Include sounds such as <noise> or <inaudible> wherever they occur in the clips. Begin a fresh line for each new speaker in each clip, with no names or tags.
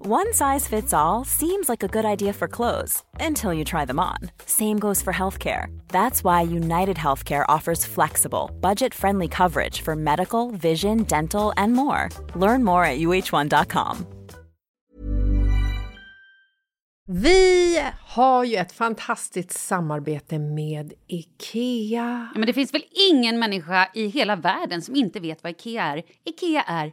One size fits all seems like a good idea for clothes until you try them on. Same goes for healthcare. That's why United Healthcare offers flexible, budget friendly coverage for medical, vision, dental, and more. Learn more at uh1.com.
Vi har ju ett fantastiskt samarbete med IKEA.
Ja, men det finns väl ingen människa i hela världen som inte vet vad Ikea är. Ikea är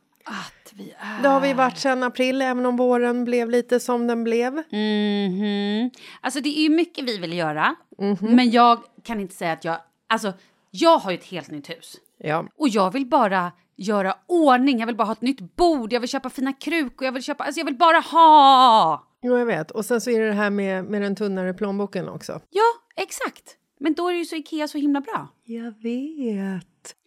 Att vi är...
Det har vi varit sedan april, även om våren blev lite som den blev.
Mm. Mhm. Alltså det är ju mycket vi vill göra, men jag kan inte säga att jag... Alltså, jag har ju ett helt nytt hus.
Ja.
Och jag vill bara göra ordning, jag vill bara ha ett nytt bord, jag vill köpa fina krukor, jag vill köpa... Alltså jag vill bara ha!
Jo, jag vet. Och sen så är det det här med, med den tunnare plånboken också.
Ja, exakt. Men då är ju så Ikea så himla bra.
Jag vet.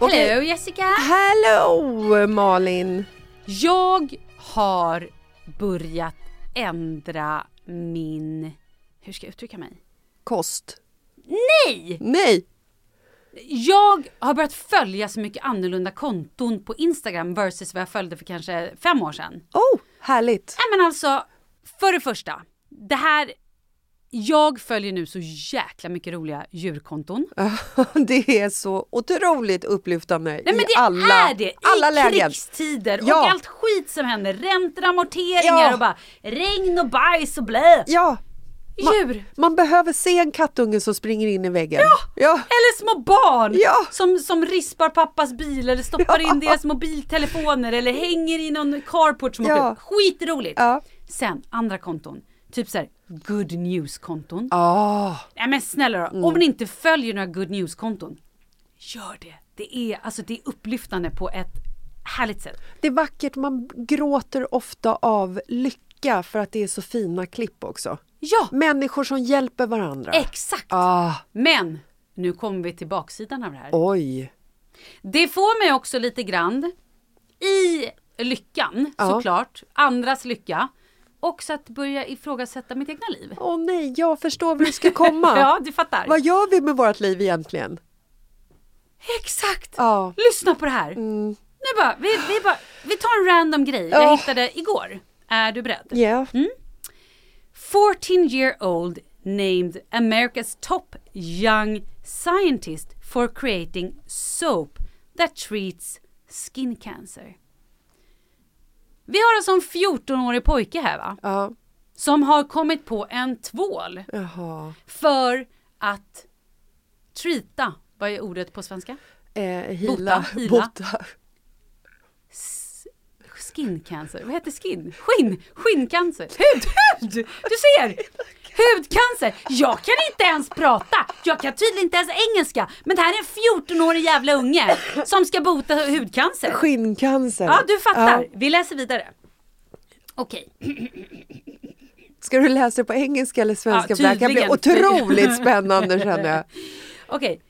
Hello Jessica!
Hello, Malin!
Jag har börjat ändra min... Hur ska jag uttrycka mig?
Kost.
Nej!
Nej!
Jag har börjat följa så mycket annorlunda konton på Instagram versus vad jag följde för kanske fem år sedan.
Oh, härligt!
Nej men alltså, för det första. Det här... Jag följer nu så jäkla mycket roliga djurkonton.
<laughs> Äh, Det är så otroligt upplyftande
Nej men
i
det
alla,
är det! I
alla lägen.
krigstider och
Ja.
allt skit som händer. Räntor, amorteringar
Ja.
och bara regn och bajs och blä.
Ja,
Djur!
man behöver se en kattunge som springer in i väggen. Ja, ja.
Eller små barn
Ja.
som, som rispar pappas bil eller stoppar in deras mobiltelefoner eller hänger i någon carport som
Ja.
åker upp. Skitroligt!
Ja.
Sen andra konton, typ så här good news-konton.
Ah,
Nej men snälla då, om ni inte följer några good news-konton, gör det! Det är, alltså, det är upplyftande på ett härligt sätt.
det är vackert, man gråter ofta av lycka för att det är så fina klipp också.
Ja,
Människor som hjälper varandra.
exakt!
ah,
Men nu kommer vi till baksidan av det här.
oj.
Det får mig också lite grann i lyckan
Ja.
såklart, andras lycka. Också att börja ifrågasätta mitt egna liv.
Åh nej, jag förstår var du ska komma.
<laughs> Ja, du fattar.
Vad gör vi med vårt liv egentligen?
Exakt!
Ja. Mm.
Lyssna på det här. Nu bara, vi, vi, bara, vi tar en random grej jag
Ja. Mm.
hittade igår. Är du beredd?
Ja.
Mm. 14 year old named America's top young scientist for creating soap that treats skin cancer. Vi har alltså en 14-årig pojke här va?
Ja.
Som har kommit på en tvål
Jaha.
för att treata, vad är ordet på svenska?
Eh, hila.
Bota, hila.
Bota.
Skin cancer, vad heter skin? Skinn, skinncancer, hud, hud! Du ser! Hudcancer! Jag kan inte ens prata! Jag kan tydligen inte ens engelska! Men det här är en 14-årig jävla unge som ska bota hudcancer.
Skinncancer.
Ja, du fattar.
Ja.
Vi läser vidare. Okej.
Ska du läsa det på engelska eller svenska?
Ja,
För det här kan bli
tydligen.
otroligt spännande känner jag.
Okej.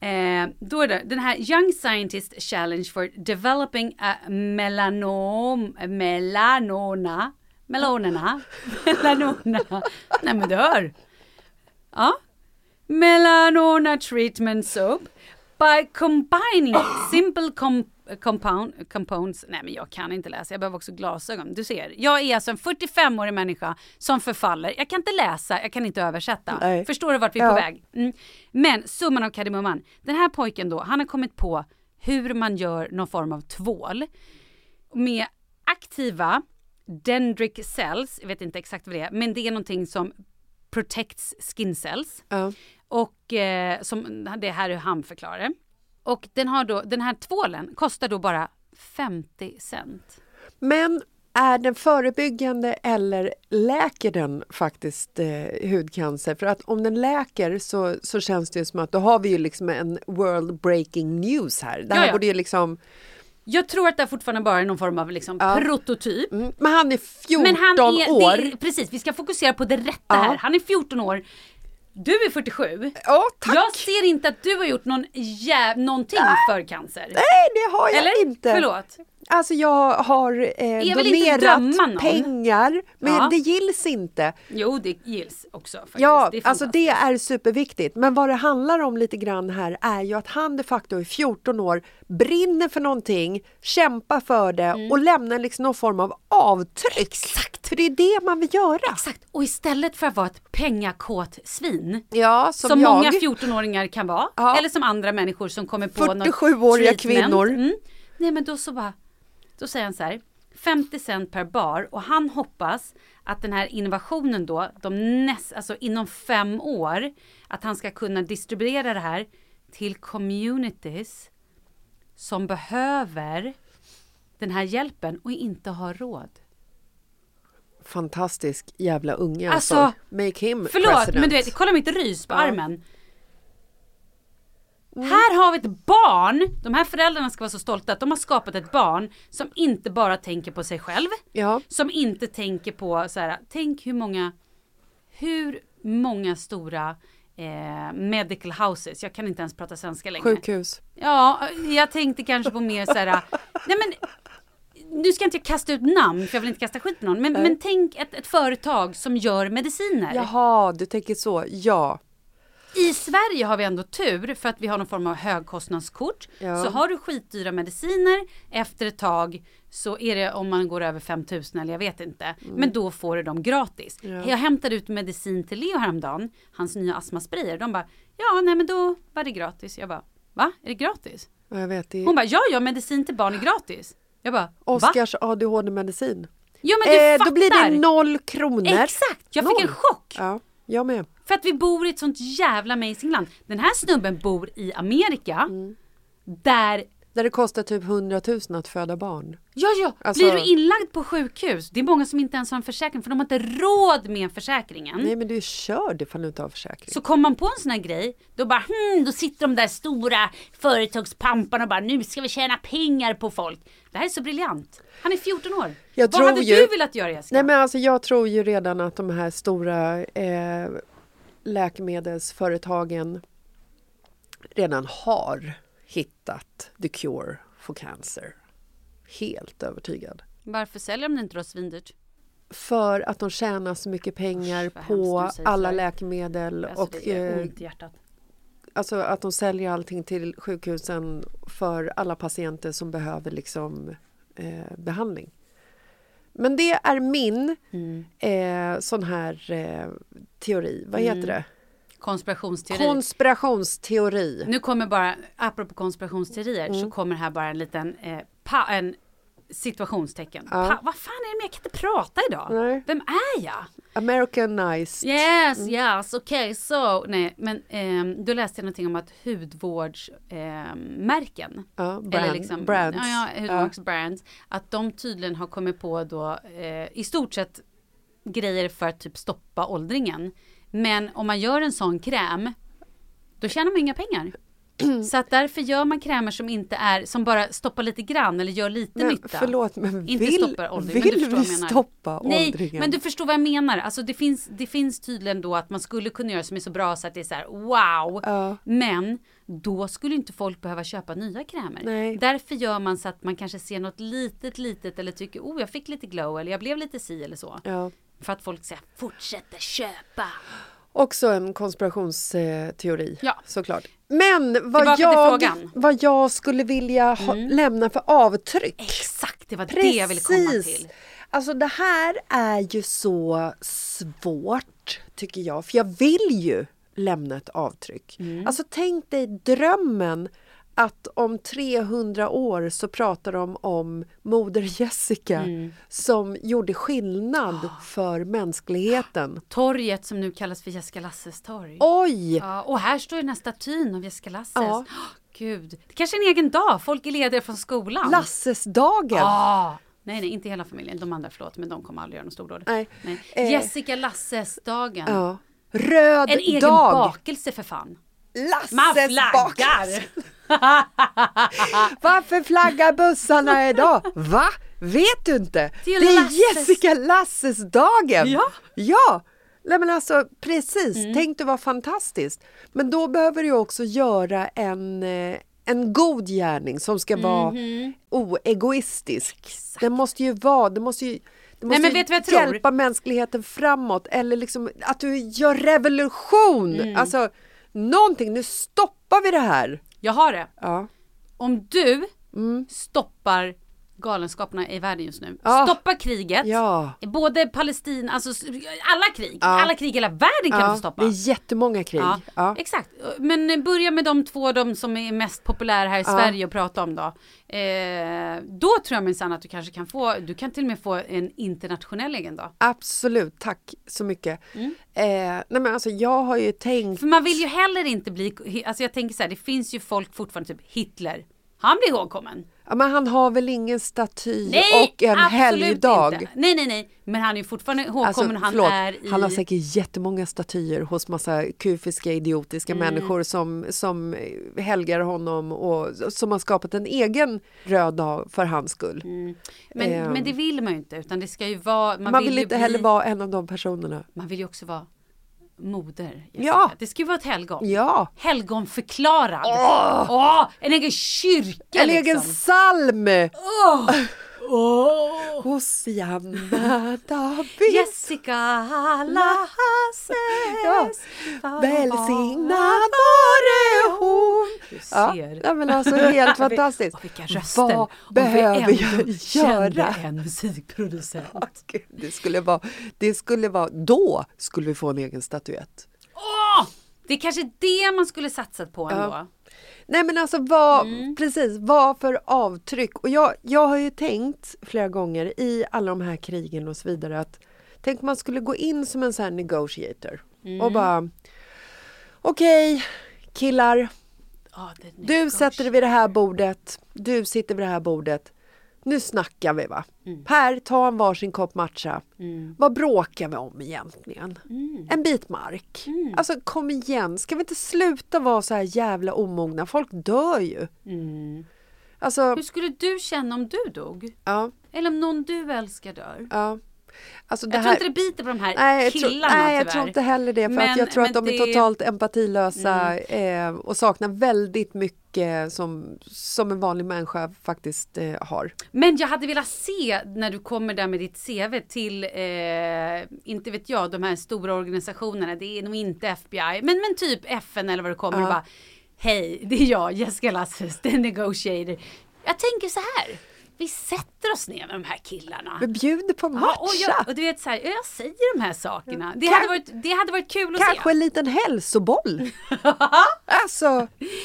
Eh, då är det den här Young Scientist Challenge for Developing a Melanom... Melanona... Melanona... Melanona... Nej men du hör! Ja. Melanona Treatment Soap by combining simple com compound, compounds. Nej men jag kan inte läsa, jag behöver också glasögon. Du ser, jag är alltså en 45-årig människa som förfaller. Jag kan inte läsa, jag kan inte översätta.
Nej.
Förstår du vart vi är på väg? Mm. Men summan av kardemumman. Den här pojken då, han har kommit på hur man gör någon form av tvål med aktiva dendric cells, jag vet inte exakt vad det är, men det är någonting som protects skin cells.
Ja.
Och eh, som, det här är hur han förklarar det. Och den, har då, den här tvålen kostar då bara 50 cent.
Men är den förebyggande eller läker den faktiskt eh, hudcancer? För att om den läker så, så känns det ju som att då har vi ju liksom en world breaking news här. Det här
Ja, ja.
borde ju liksom...
Jag tror att det här fortfarande bara är någon form av liksom prototyp.
Mm, Men han är 14
Men han är,
år.
Det är, precis, vi ska fokusera på det rätta
Ja.
här. Han är 14 år. Du är 47.
Ja, tack!
Jag ser inte att du har gjort någon jäv, någonting för cancer.
Nej, det har jag
Eller?
inte.
Förlåt.
Alltså jag har eh,
Jag vill inte döma någon.
donerat pengar, men
Ja.
det gills inte.
Jo, det gills också faktiskt.
Ja,
det är
alltså det
fantastiskt.
är superviktigt. Men vad det handlar om lite grann här är ju att han de facto i 14 år brinner för någonting, kämpar för det
Mm.
och lämnar liksom någon form av avtryck. Exakt! För det är det man vill göra.
Exakt, och istället för att vara ett pengakåt svin
Ja, som,
som,
jag.
många 14-åringar kan vara.
Ja.
Eller som andra människor som kommer på något
47-åriga
treatment.
kvinnor.
Mm. Nej men då så bara, då säger han så här, 50 cent per bar och han hoppas att den här innovationen då, de näst, alltså inom fem år, att han ska kunna distribuera det här till communities som behöver den här hjälpen och inte har råd.
Fantastisk jävla unge
Alltså,
alltså. Make him
Förlåt,
president.
men du vet, kolla mitt rys på armen.
Mm.
Här har vi ett barn, de här föräldrarna ska vara så stolta att de har skapat ett barn som inte bara tänker på sig själv,
Ja.
som inte tänker på så här, tänk hur många, hur många stora eh, medical houses, jag kan inte ens prata svenska längre.
Sjukhus.
Ja, jag tänkte kanske på mer så här, nej men nu ska inte jag kasta ut namn för jag vill inte kasta skit på någon, men, men tänk ett, ett företag som gör mediciner.
Jaha, du tänker så. Ja.
I Sverige har vi ändå tur för att vi har någon form av högkostnadskort.
Ja.
Så har du skitdyra mediciner efter ett tag så är det om man går över 5000 eller jag vet inte. Men då får du dem gratis. Jag hämtade ut medicin till Leo häromdagen, hans nya astmasprayer. De bara, ja nej men då var det gratis. Jag bara, va? Är det gratis?
Ja, Jag vet, det
Hon
är
bara, ja ja medicin till barn är gratis. Jag bara, va?
Oscars ADHD-medicin.
Ja men du
Eh,
fattar!
då blir det noll kronor.
Exakt, jag fick en
Noll.
chock.
Ja, jag med.
För att vi bor i ett sånt jävla amazing land. Den här snubben bor i Amerika.
Mm.
Där,
Där det kostar typ 100 000 att föda barn.
ja ja,
Alltså-
blir du inlagd på sjukhus. Det är många som inte ens har en försäkring för de har inte råd med försäkringen.
Nej men du är körd ifall du inte har försäkring.
Så kom man på en sån här grej, då bara hmm, då sitter de där stora företagspamparna och bara nu ska vi tjäna pengar på folk. Det här är så briljant. Han är 14 år.
Jag
Vad
tror
hade
ju-
du velat göra Jessica?
Nej men alltså jag tror ju redan att de här stora eh, läkemedelsföretagen redan har hittat the cure for cancer. Helt övertygad.
Varför säljer de det inte då svindyrt?
För att de tjänar så mycket pengar
vad hemskt
på
du säger
alla
så.
läkemedel
Alltså,
och
det är
eh,
ont i hjärtat.
Alltså att de säljer allting till sjukhusen för alla patienter som behöver liksom, eh, behandling. Men det är min eh, sån här eh, teori. Vad heter det?
Konspirationsteori.
Konspirationsteori.
nu kommer bara, apropå konspirationsteorier,
Mm.
så kommer här bara en liten eh, pa, en situationstecken. Pa, vad fan är det med, jag kan inte prata idag.
Nej.
Vem är jag?
Americanized.
Yes,
mm.
yes, okay, so. Nej, men ehm, då läste jag någonting om att ehm, hudvårdsmärken.
Ja, brand- brands.
liksom- Ja, ja, hudvårdsbrands. Att de tydligen har kommit på då eh, i stort sett grejer för att typ stoppa åldringen. Men om man gör en sån kräm, då tjänar man inga pengar. Så att därför gör man krämer som inte är, som bara stoppar lite grann eller gör lite
Men
nytta.
förlåt, men
inte
vill-
stoppar åldringen. men
vill
du
vi
förstår vad jag menar.
stoppa
Nej,
åldringen?
men du förstår vad jag menar. Alltså det finns, det finns tydligen då att man skulle kunna göra som är så bra så att det är så här wow. Men då skulle inte folk behöva köpa nya krämer.
Nej.
Därför gör man så att man kanske ser något litet, litet eller tycker oh jag fick lite glow eller jag blev lite si eller så.
Ja.
För att folk säger fortsätter köpa.
Också en konspirationsteori
Ja.
såklart. Men vad
Tillbaka till
jag,
frågan. Mm.
vad jag skulle vilja ha, lämna för avtryck.
Exakt, det var det jag ville komma till.
Alltså det här är ju så svårt tycker jag, för jag vill ju lämna ett avtryck.
Mm.
Alltså tänk dig drömmen att om 300 år så pratar de om moder Jessica
Mm.
som gjorde skillnad
Ah.
för mänskligheten.
Torget som nu kallas för Jessica Lasses torg.
Oj!
Ja, och här står ju den här statyn av Jessica Lasses.
Ja.
Åh, <gasps> Gud, det kanske är en egen dag. Folk är lediga från skolan.
Lassesdagen!
Ah, nej, nej, inte hela familjen. De andra, förlåt, men de kommer aldrig göra något stordåd.
Nej. Eh.
Jessica Lasses-dagen.
Ja. Röd
En egen
dag!
bakelse för fan. Man
Lasses bakelse.
flaggar!
Varför flaggar bussarna idag? Va? Vet du inte?
Till
det är
Lasses.
Jessica Lasses-dagen!
Ja. Mm.
Ja! Nej men alltså precis, tänk det var fantastiskt. Men då behöver du också göra en, eh, en god gärning som ska vara
Mhm.
oegoistisk. Den måste ju vara, det måste ju, det måste
men
ju
vet du vad jag tror?
hjälpa mänskligheten framåt eller liksom att du gör revolution.
Mm.
Alltså någonting, nu stoppar vi det här.
Jag har det.
Ja. Mm.
Om du stoppar galenskaperna i världen just nu.
Ja.
Stoppa kriget.
Ja.
Både Palestina, alltså s- alla krig. Alla krig i hela världen kan
Ja,
du stoppa.
Det är jättemånga krig.
Ja,
Ja.
Exakt, men eh, börja med de två de som är mest populära här i Sverige att prata om då. Eh, då tror jag minsann att du kanske kan få, du kan till och med få en internationell egen dag.
Absolut, tack så mycket. Eh, nej men alltså, jag har ju tänkt...
Mm. För man vill ju heller inte bli, alltså jag tänker så här, det finns ju folk fortfarande, typ Hitler, han blir ihågkommen.
Ja, men han har väl ingen staty
Nej,
och en
absolut
helgdag?
inte. Nej, nej, nej, men han är ju fortfarande
Alltså,
ihågkommen, han
förlåt,
är i...
han har säkert jättemånga statyer hos massa kufiska idiotiska
Mm.
människor som, som helgar honom och som har skapat en egen röd dag för hans skull.
men,
ehm.
men det vill man ju inte, utan det ska ju vara, Mm. man,
Man, vill,
ju
inte
bli,
heller vara en av de personerna.
man vill ju också vara moder. Jessica.
Ja.
Det ska ju vara ett helgon.
Ja,
helgonförklarad. Åh! en egen kyrka
en egen
liksom.
psalm!
Åh!
Hosianna David!
Jessica Lasses.
Ja. Välsignad vare hon!
Du
Ja,
ser.
nej, men alltså
<laughs>
helt fantastiskt.
Och vilka röster.
Vad
Om
behöver
vi ändå
jag
kände
göra?
en musikproducent.
Ja, gud, Det skulle, vara, det skulle vara, då skulle vi få en egen statyett.
Åh! Det är kanske det man skulle satsat på ändå.
Nej men alltså vad, precis, vad för avtryck? Och jag, jag har ju tänkt flera gånger i alla de här krigen och så vidare att tänk man skulle gå in som en sån här negotiator och bara okej killar,
Ja, det är en
Du
egen
sätter dig vid det här bordet, du sitter vid det här bordet. Nu snackar vi va? Per, ta en varsin kopp matcha. Vad bråkar vi om egentligen? En bit mark. Alltså kom igen, ska vi inte sluta vara så här jävla omogna? Folk dör ju. Alltså,
Hur skulle du känna om du dog?
ja,
Eller om någon du älskar dör?
ja. Alltså, det
jag tror
här...
inte det biter på de här
Nej, jag tror,
killarna
nej, jag
tyvärr.
tror inte heller det. För att jag tror att de är
det- Mm.
totalt empatilösa eh, och saknar väldigt mycket som, som en vanlig människa faktiskt eh, har.
Men jag hade velat se när du kommer där med ditt CV till, eh, inte vet jag, de här stora organisationerna. Det är nog inte FBI, men, men typ FN eller vad det kommer och bara. Hej, det är jag, Jessica Lasses, the negotiator. Jag tänker så här. vi sätter oss ner med de här killarna.
Vi bjuder på
Ja, och,
matcha.
jag, och du vet så här, jag säger de här sakerna. Det hade varit, det hade varit kul att
Kanske
se.
en liten
<laughs>
hälsoboll. alltså,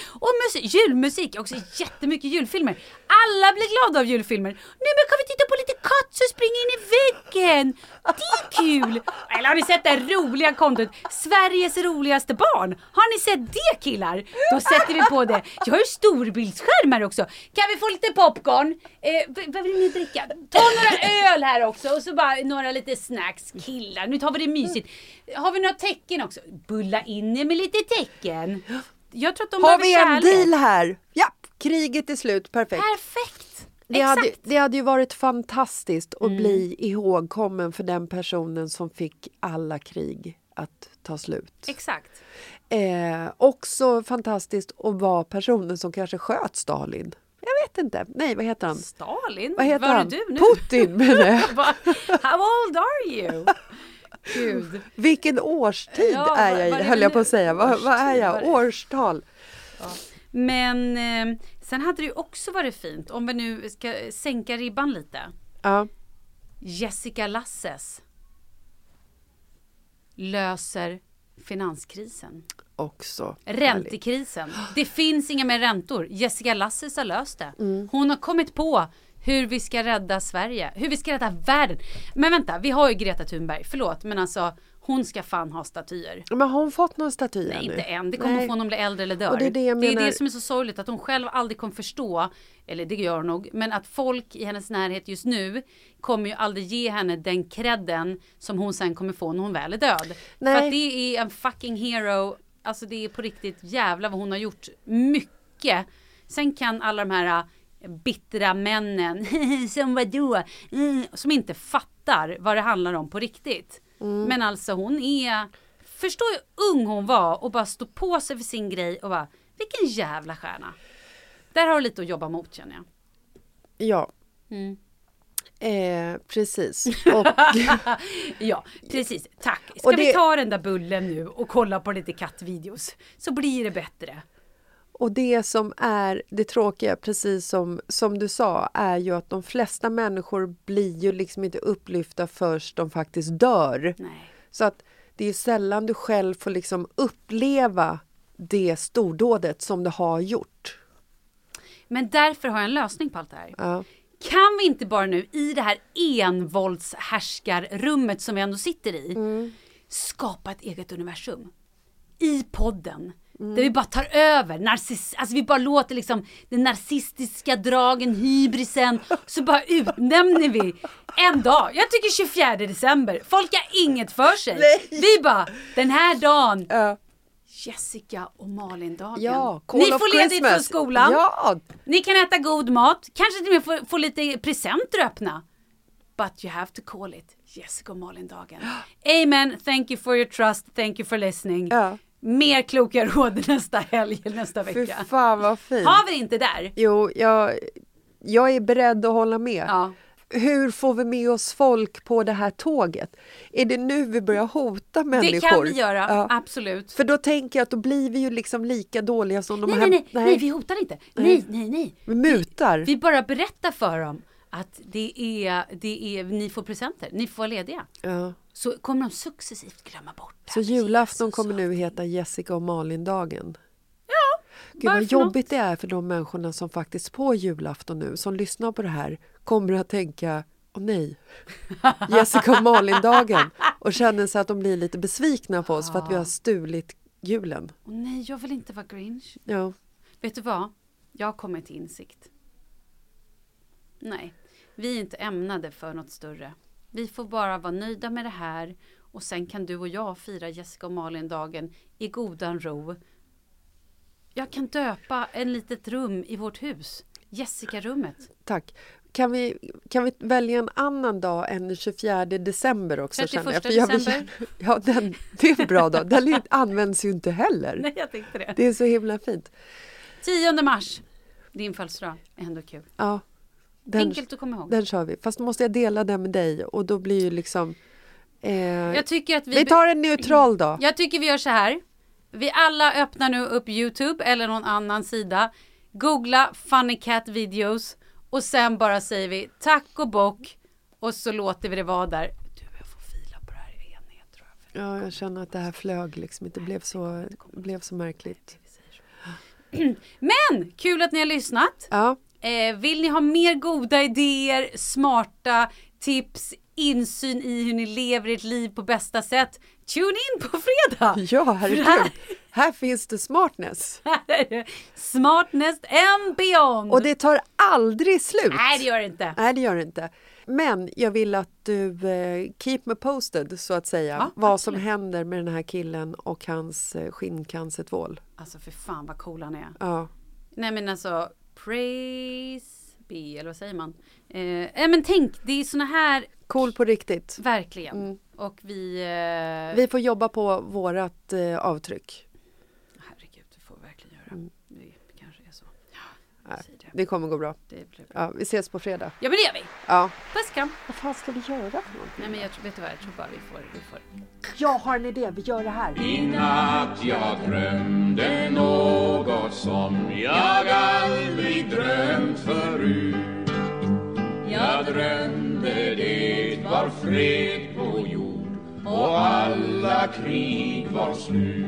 Och musik, julmusik, också jättemycket julfilmer. Alla blir glada av julfilmer. Nej men kan vi titta på lite katt som springer in i väggen? Det är kul! Eller har ni sett det här roliga kontot? Sveriges roligaste barn. Har ni sett det killar? Då sätter vi på det. Jag har ju storbildsskärmar också. Kan vi få lite popcorn? Eh, v- vad vill ni dricka? Ta några öl här också och så bara några lite snacks. Killar, nu tar vi det mysigt. Har vi några tecken också? Bulla in er med lite tecken. Jag tror att de
har
behöver
vi en
kärlek.
deal här? Ja, kriget är slut, perfekt.
Perfekt!
Det
Exakt! Mm.
hade, det hade ju varit fantastiskt att bli ihågkommen för den personen som fick alla krig att ta slut.
Exakt.
Eh, också fantastiskt att vara personen som kanske sköt Stalin. Jag vet inte. Nej, vad heter han?
Stalin?
Vad heter
Var
han?
är du nu? <laughs>
Putin menar jag.
Va? How old are
<laughs>
you? Gud.
Vilken årstid
Ja,
är
vad-
jag i,
vad är
höll
det
jag på
nu?
att säga. Vad, vad är
Årstid, vad är
jag?
det?
Årstal.
Men eh, sen hade det ju också varit fint, om vi nu ska eh, sänka ribban lite.
Ja.
Jessica Lasses löser finanskrisen.
Också. härligt.
Räntekrisen. Det finns inga mer räntor. Jessica Lasses har löst det.
Mm.
Hon har kommit på hur vi ska rädda Sverige. Hur vi ska rädda världen. Men vänta, vi har ju Greta Thunberg. Förlåt, men alltså hon ska fan ha statyer.
Men har hon fått någon staty
Nej,
ännu?
inte än. Det kommer
Nej.
få hon om blir äldre eller dör.
Och det är det jag menar.
som är så sorgligt, att hon själv aldrig kommer förstå, eller det gör hon nog, men att folk i hennes närhet just nu kommer ju aldrig ge henne den credden som hon sen kommer få när hon väl är död. För
Nej.
att det är en fucking hero, alltså det är på riktigt jävla vad hon har gjort mycket. Sen kan alla de här äh, bittra männen, <laughs> som vadå, Mm, som inte fattar vad det handlar om på riktigt.
Mm.
Men alltså hon är Förstå hur ung hon var och bara stå på sig för sin grej och bara vilken jävla stjärna. Där har du lite att jobba mot känner jag.
Ja.
Mm.
Eh, precis.
<laughs>
Och,
Ja, precis. Tack. Ska
Och det-
vi ta den där bullen nu och kolla på lite kattvideos så blir det bättre.
och det som är det tråkiga, precis som, som du sa, är ju att de flesta människor blir ju liksom inte upplyfta först de faktiskt dör.
Nej.
Så att det är ju sällan du själv får liksom uppleva det stordådet som du har gjort.
Men därför har jag en lösning på allt det här.
Ja.
Kan vi inte bara nu i det här envåldshärskarrummet som vi ändå sitter i
Mm.
skapa ett eget universum? I podden. Där vi bara tar över. Narciss- alltså vi bara låter liksom den narcissistiska dragen, hybrisen. Så bara utnämner vi en dag. Jag tycker 24 december. Folk har inget för sig. Vi bara, den här dagen.
Ja.
Jessica och Malin-dagen.
Ja, Call
Ni
of
får ledigt från
Christmas.
skolan.
Ja,
Ni kan äta god mat, kanske till och med få, få lite presenter att öppna. But you have to call it Jessica och Malin-dagen. <gasps> Amen, thank you for your trust, thank you for listening.
Ja.
Mer kloka råd nästa helg, eller nästa
fy
vecka.
fan vad fint.
Har vi det inte där?
Jo, jag, jag är beredd att hålla med.
Ja.
Hur får vi med oss folk på det här tåget? Är det nu vi börjar hota människor?
Det kan vi göra,
Ja.
absolut.
För då tänker jag att då blir vi ju liksom lika dåliga som de
Nej,
här...
nej, nej, nej, vi hotar inte. Nej, nej, nej.
Vi mutar.
Vi bara berättar för dem att det är, det är, ni får presenter, ni får vara lediga.
ja.
Så kommer de successivt glömma bort det.
Så julafton kommer nu heta Jessica och Malin-dagen. Ja, Gud vad
varför något?
jobbigt det är för de människorna som faktiskt på julafton nu, som lyssnar på det här, kommer att tänka Åh
<laughs>
nej, Jessica och Malin-dagen och känner sig att de blir lite besvikna på oss för att vi har stulit julen.
Åh, nej, jag vill inte vara Grinch.
Ja.
Vet du vad? Jag har kommit till insikt. Nej, vi är inte ämnade för något större. Vi får bara vara nöjda med det här och sen kan du och jag fira Jessica och Malin-dagen i godan ro. Jag kan döpa en litet rum i vårt hus. Jessica-rummet.
Tack. Kan vi, kan vi välja en annan dag än den 24 december också?
31
För jag vill-
december?
<laughs> ja, den, det är en bra dag. Den används ju inte heller.
Nej, jag tänkte det.
Det är så himla fint.
10 mars. Din födelsedag. Ändå kul.
Ja, den,
Enkelt att komma ihåg.
Den kör vi. Fast måste jag dela den med dig och då blir ju liksom... Eh,
Jag tycker att vi...
vi tar en neutral dag.
Jag tycker vi gör så här. Vi alla öppnar nu upp Youtube eller någon annan sida. Googla funny cat videos Och sen bara säger vi tack och bock och så låter vi det vara där. Du, jag får fila på det här eniga tror jag. för
Ja, jag känner att det här flög liksom inte, blev så, blev så märkligt.
Men kul att ni har lyssnat.
Ja,
Eh, vill ni ha mer goda idéer, smarta tips, insyn i hur ni lever ert liv på bästa sätt? Tune in på fredag!
ja
För
herregud.
här-
Här finns det smartness.
här är det Smartness and beyond!
Och det tar aldrig slut.
Nej, det gör det inte.
Nej, det gör det inte. Men jag vill att du eh, keep me posted så att säga. vad som händer med den här killen och hans eh, skinncancertvål.
Alltså för fan vad cool han är.
Ja.
Nej men alltså, praise be, eller vad säger man? Eh, nej, men tänk, det är såna här,
Cool på riktigt.
verkligen. Och vi, eh,
Mm. Vi får jobba på vårat eh, avtryck.
herregud, vi får verkligen göra. Mm. Det kanske är så. Ja, säg det.
Det kommer gå bra.
Det blir bra.
Ja, vi ses på fredag.
Ja men det gör vi!
Ja.
Puss kram!
Vad fan ska vi göra för någonting?
Nej men jag tror, vet du vad, jag tror bara vi får, vi får.
Jag har en idé, vi gör det här.
I natt jag drömde något som jag aldrig drömt förut. Jag drömde det var fred på jord och alla krig var slut.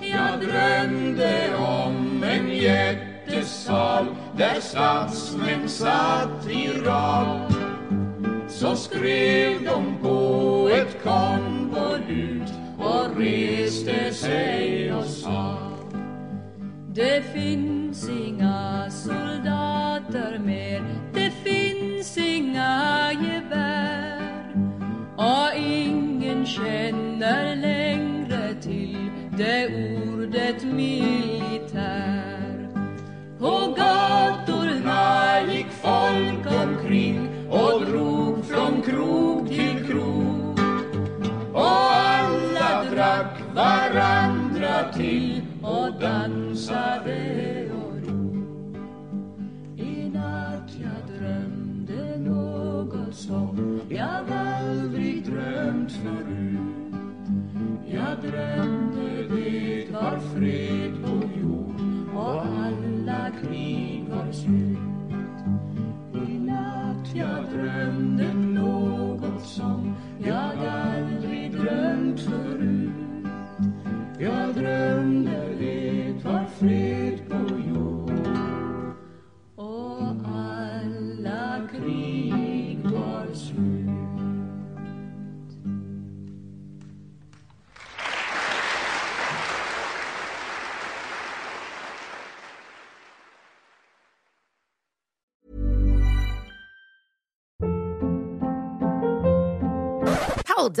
Jag drömde om en jättesal där statsmän satt i rad så skrev de på ett konvolut och reste sig och sa
Det finns inga soldater mer, det finns inga gevär och ingen känner längre till det ordet militär.
På gatorna gick folk omkring och drog från krog till krog och alla drack varandra till och dansade och dog. I natt jag drömde något som jag aldrig drömt förut jag drömde det var fred på jord och alla krig var slut. I natt jag drömde något som jag aldrig drömt förut. Jag drömde det var fred på jord och alla krig var slut.
Hold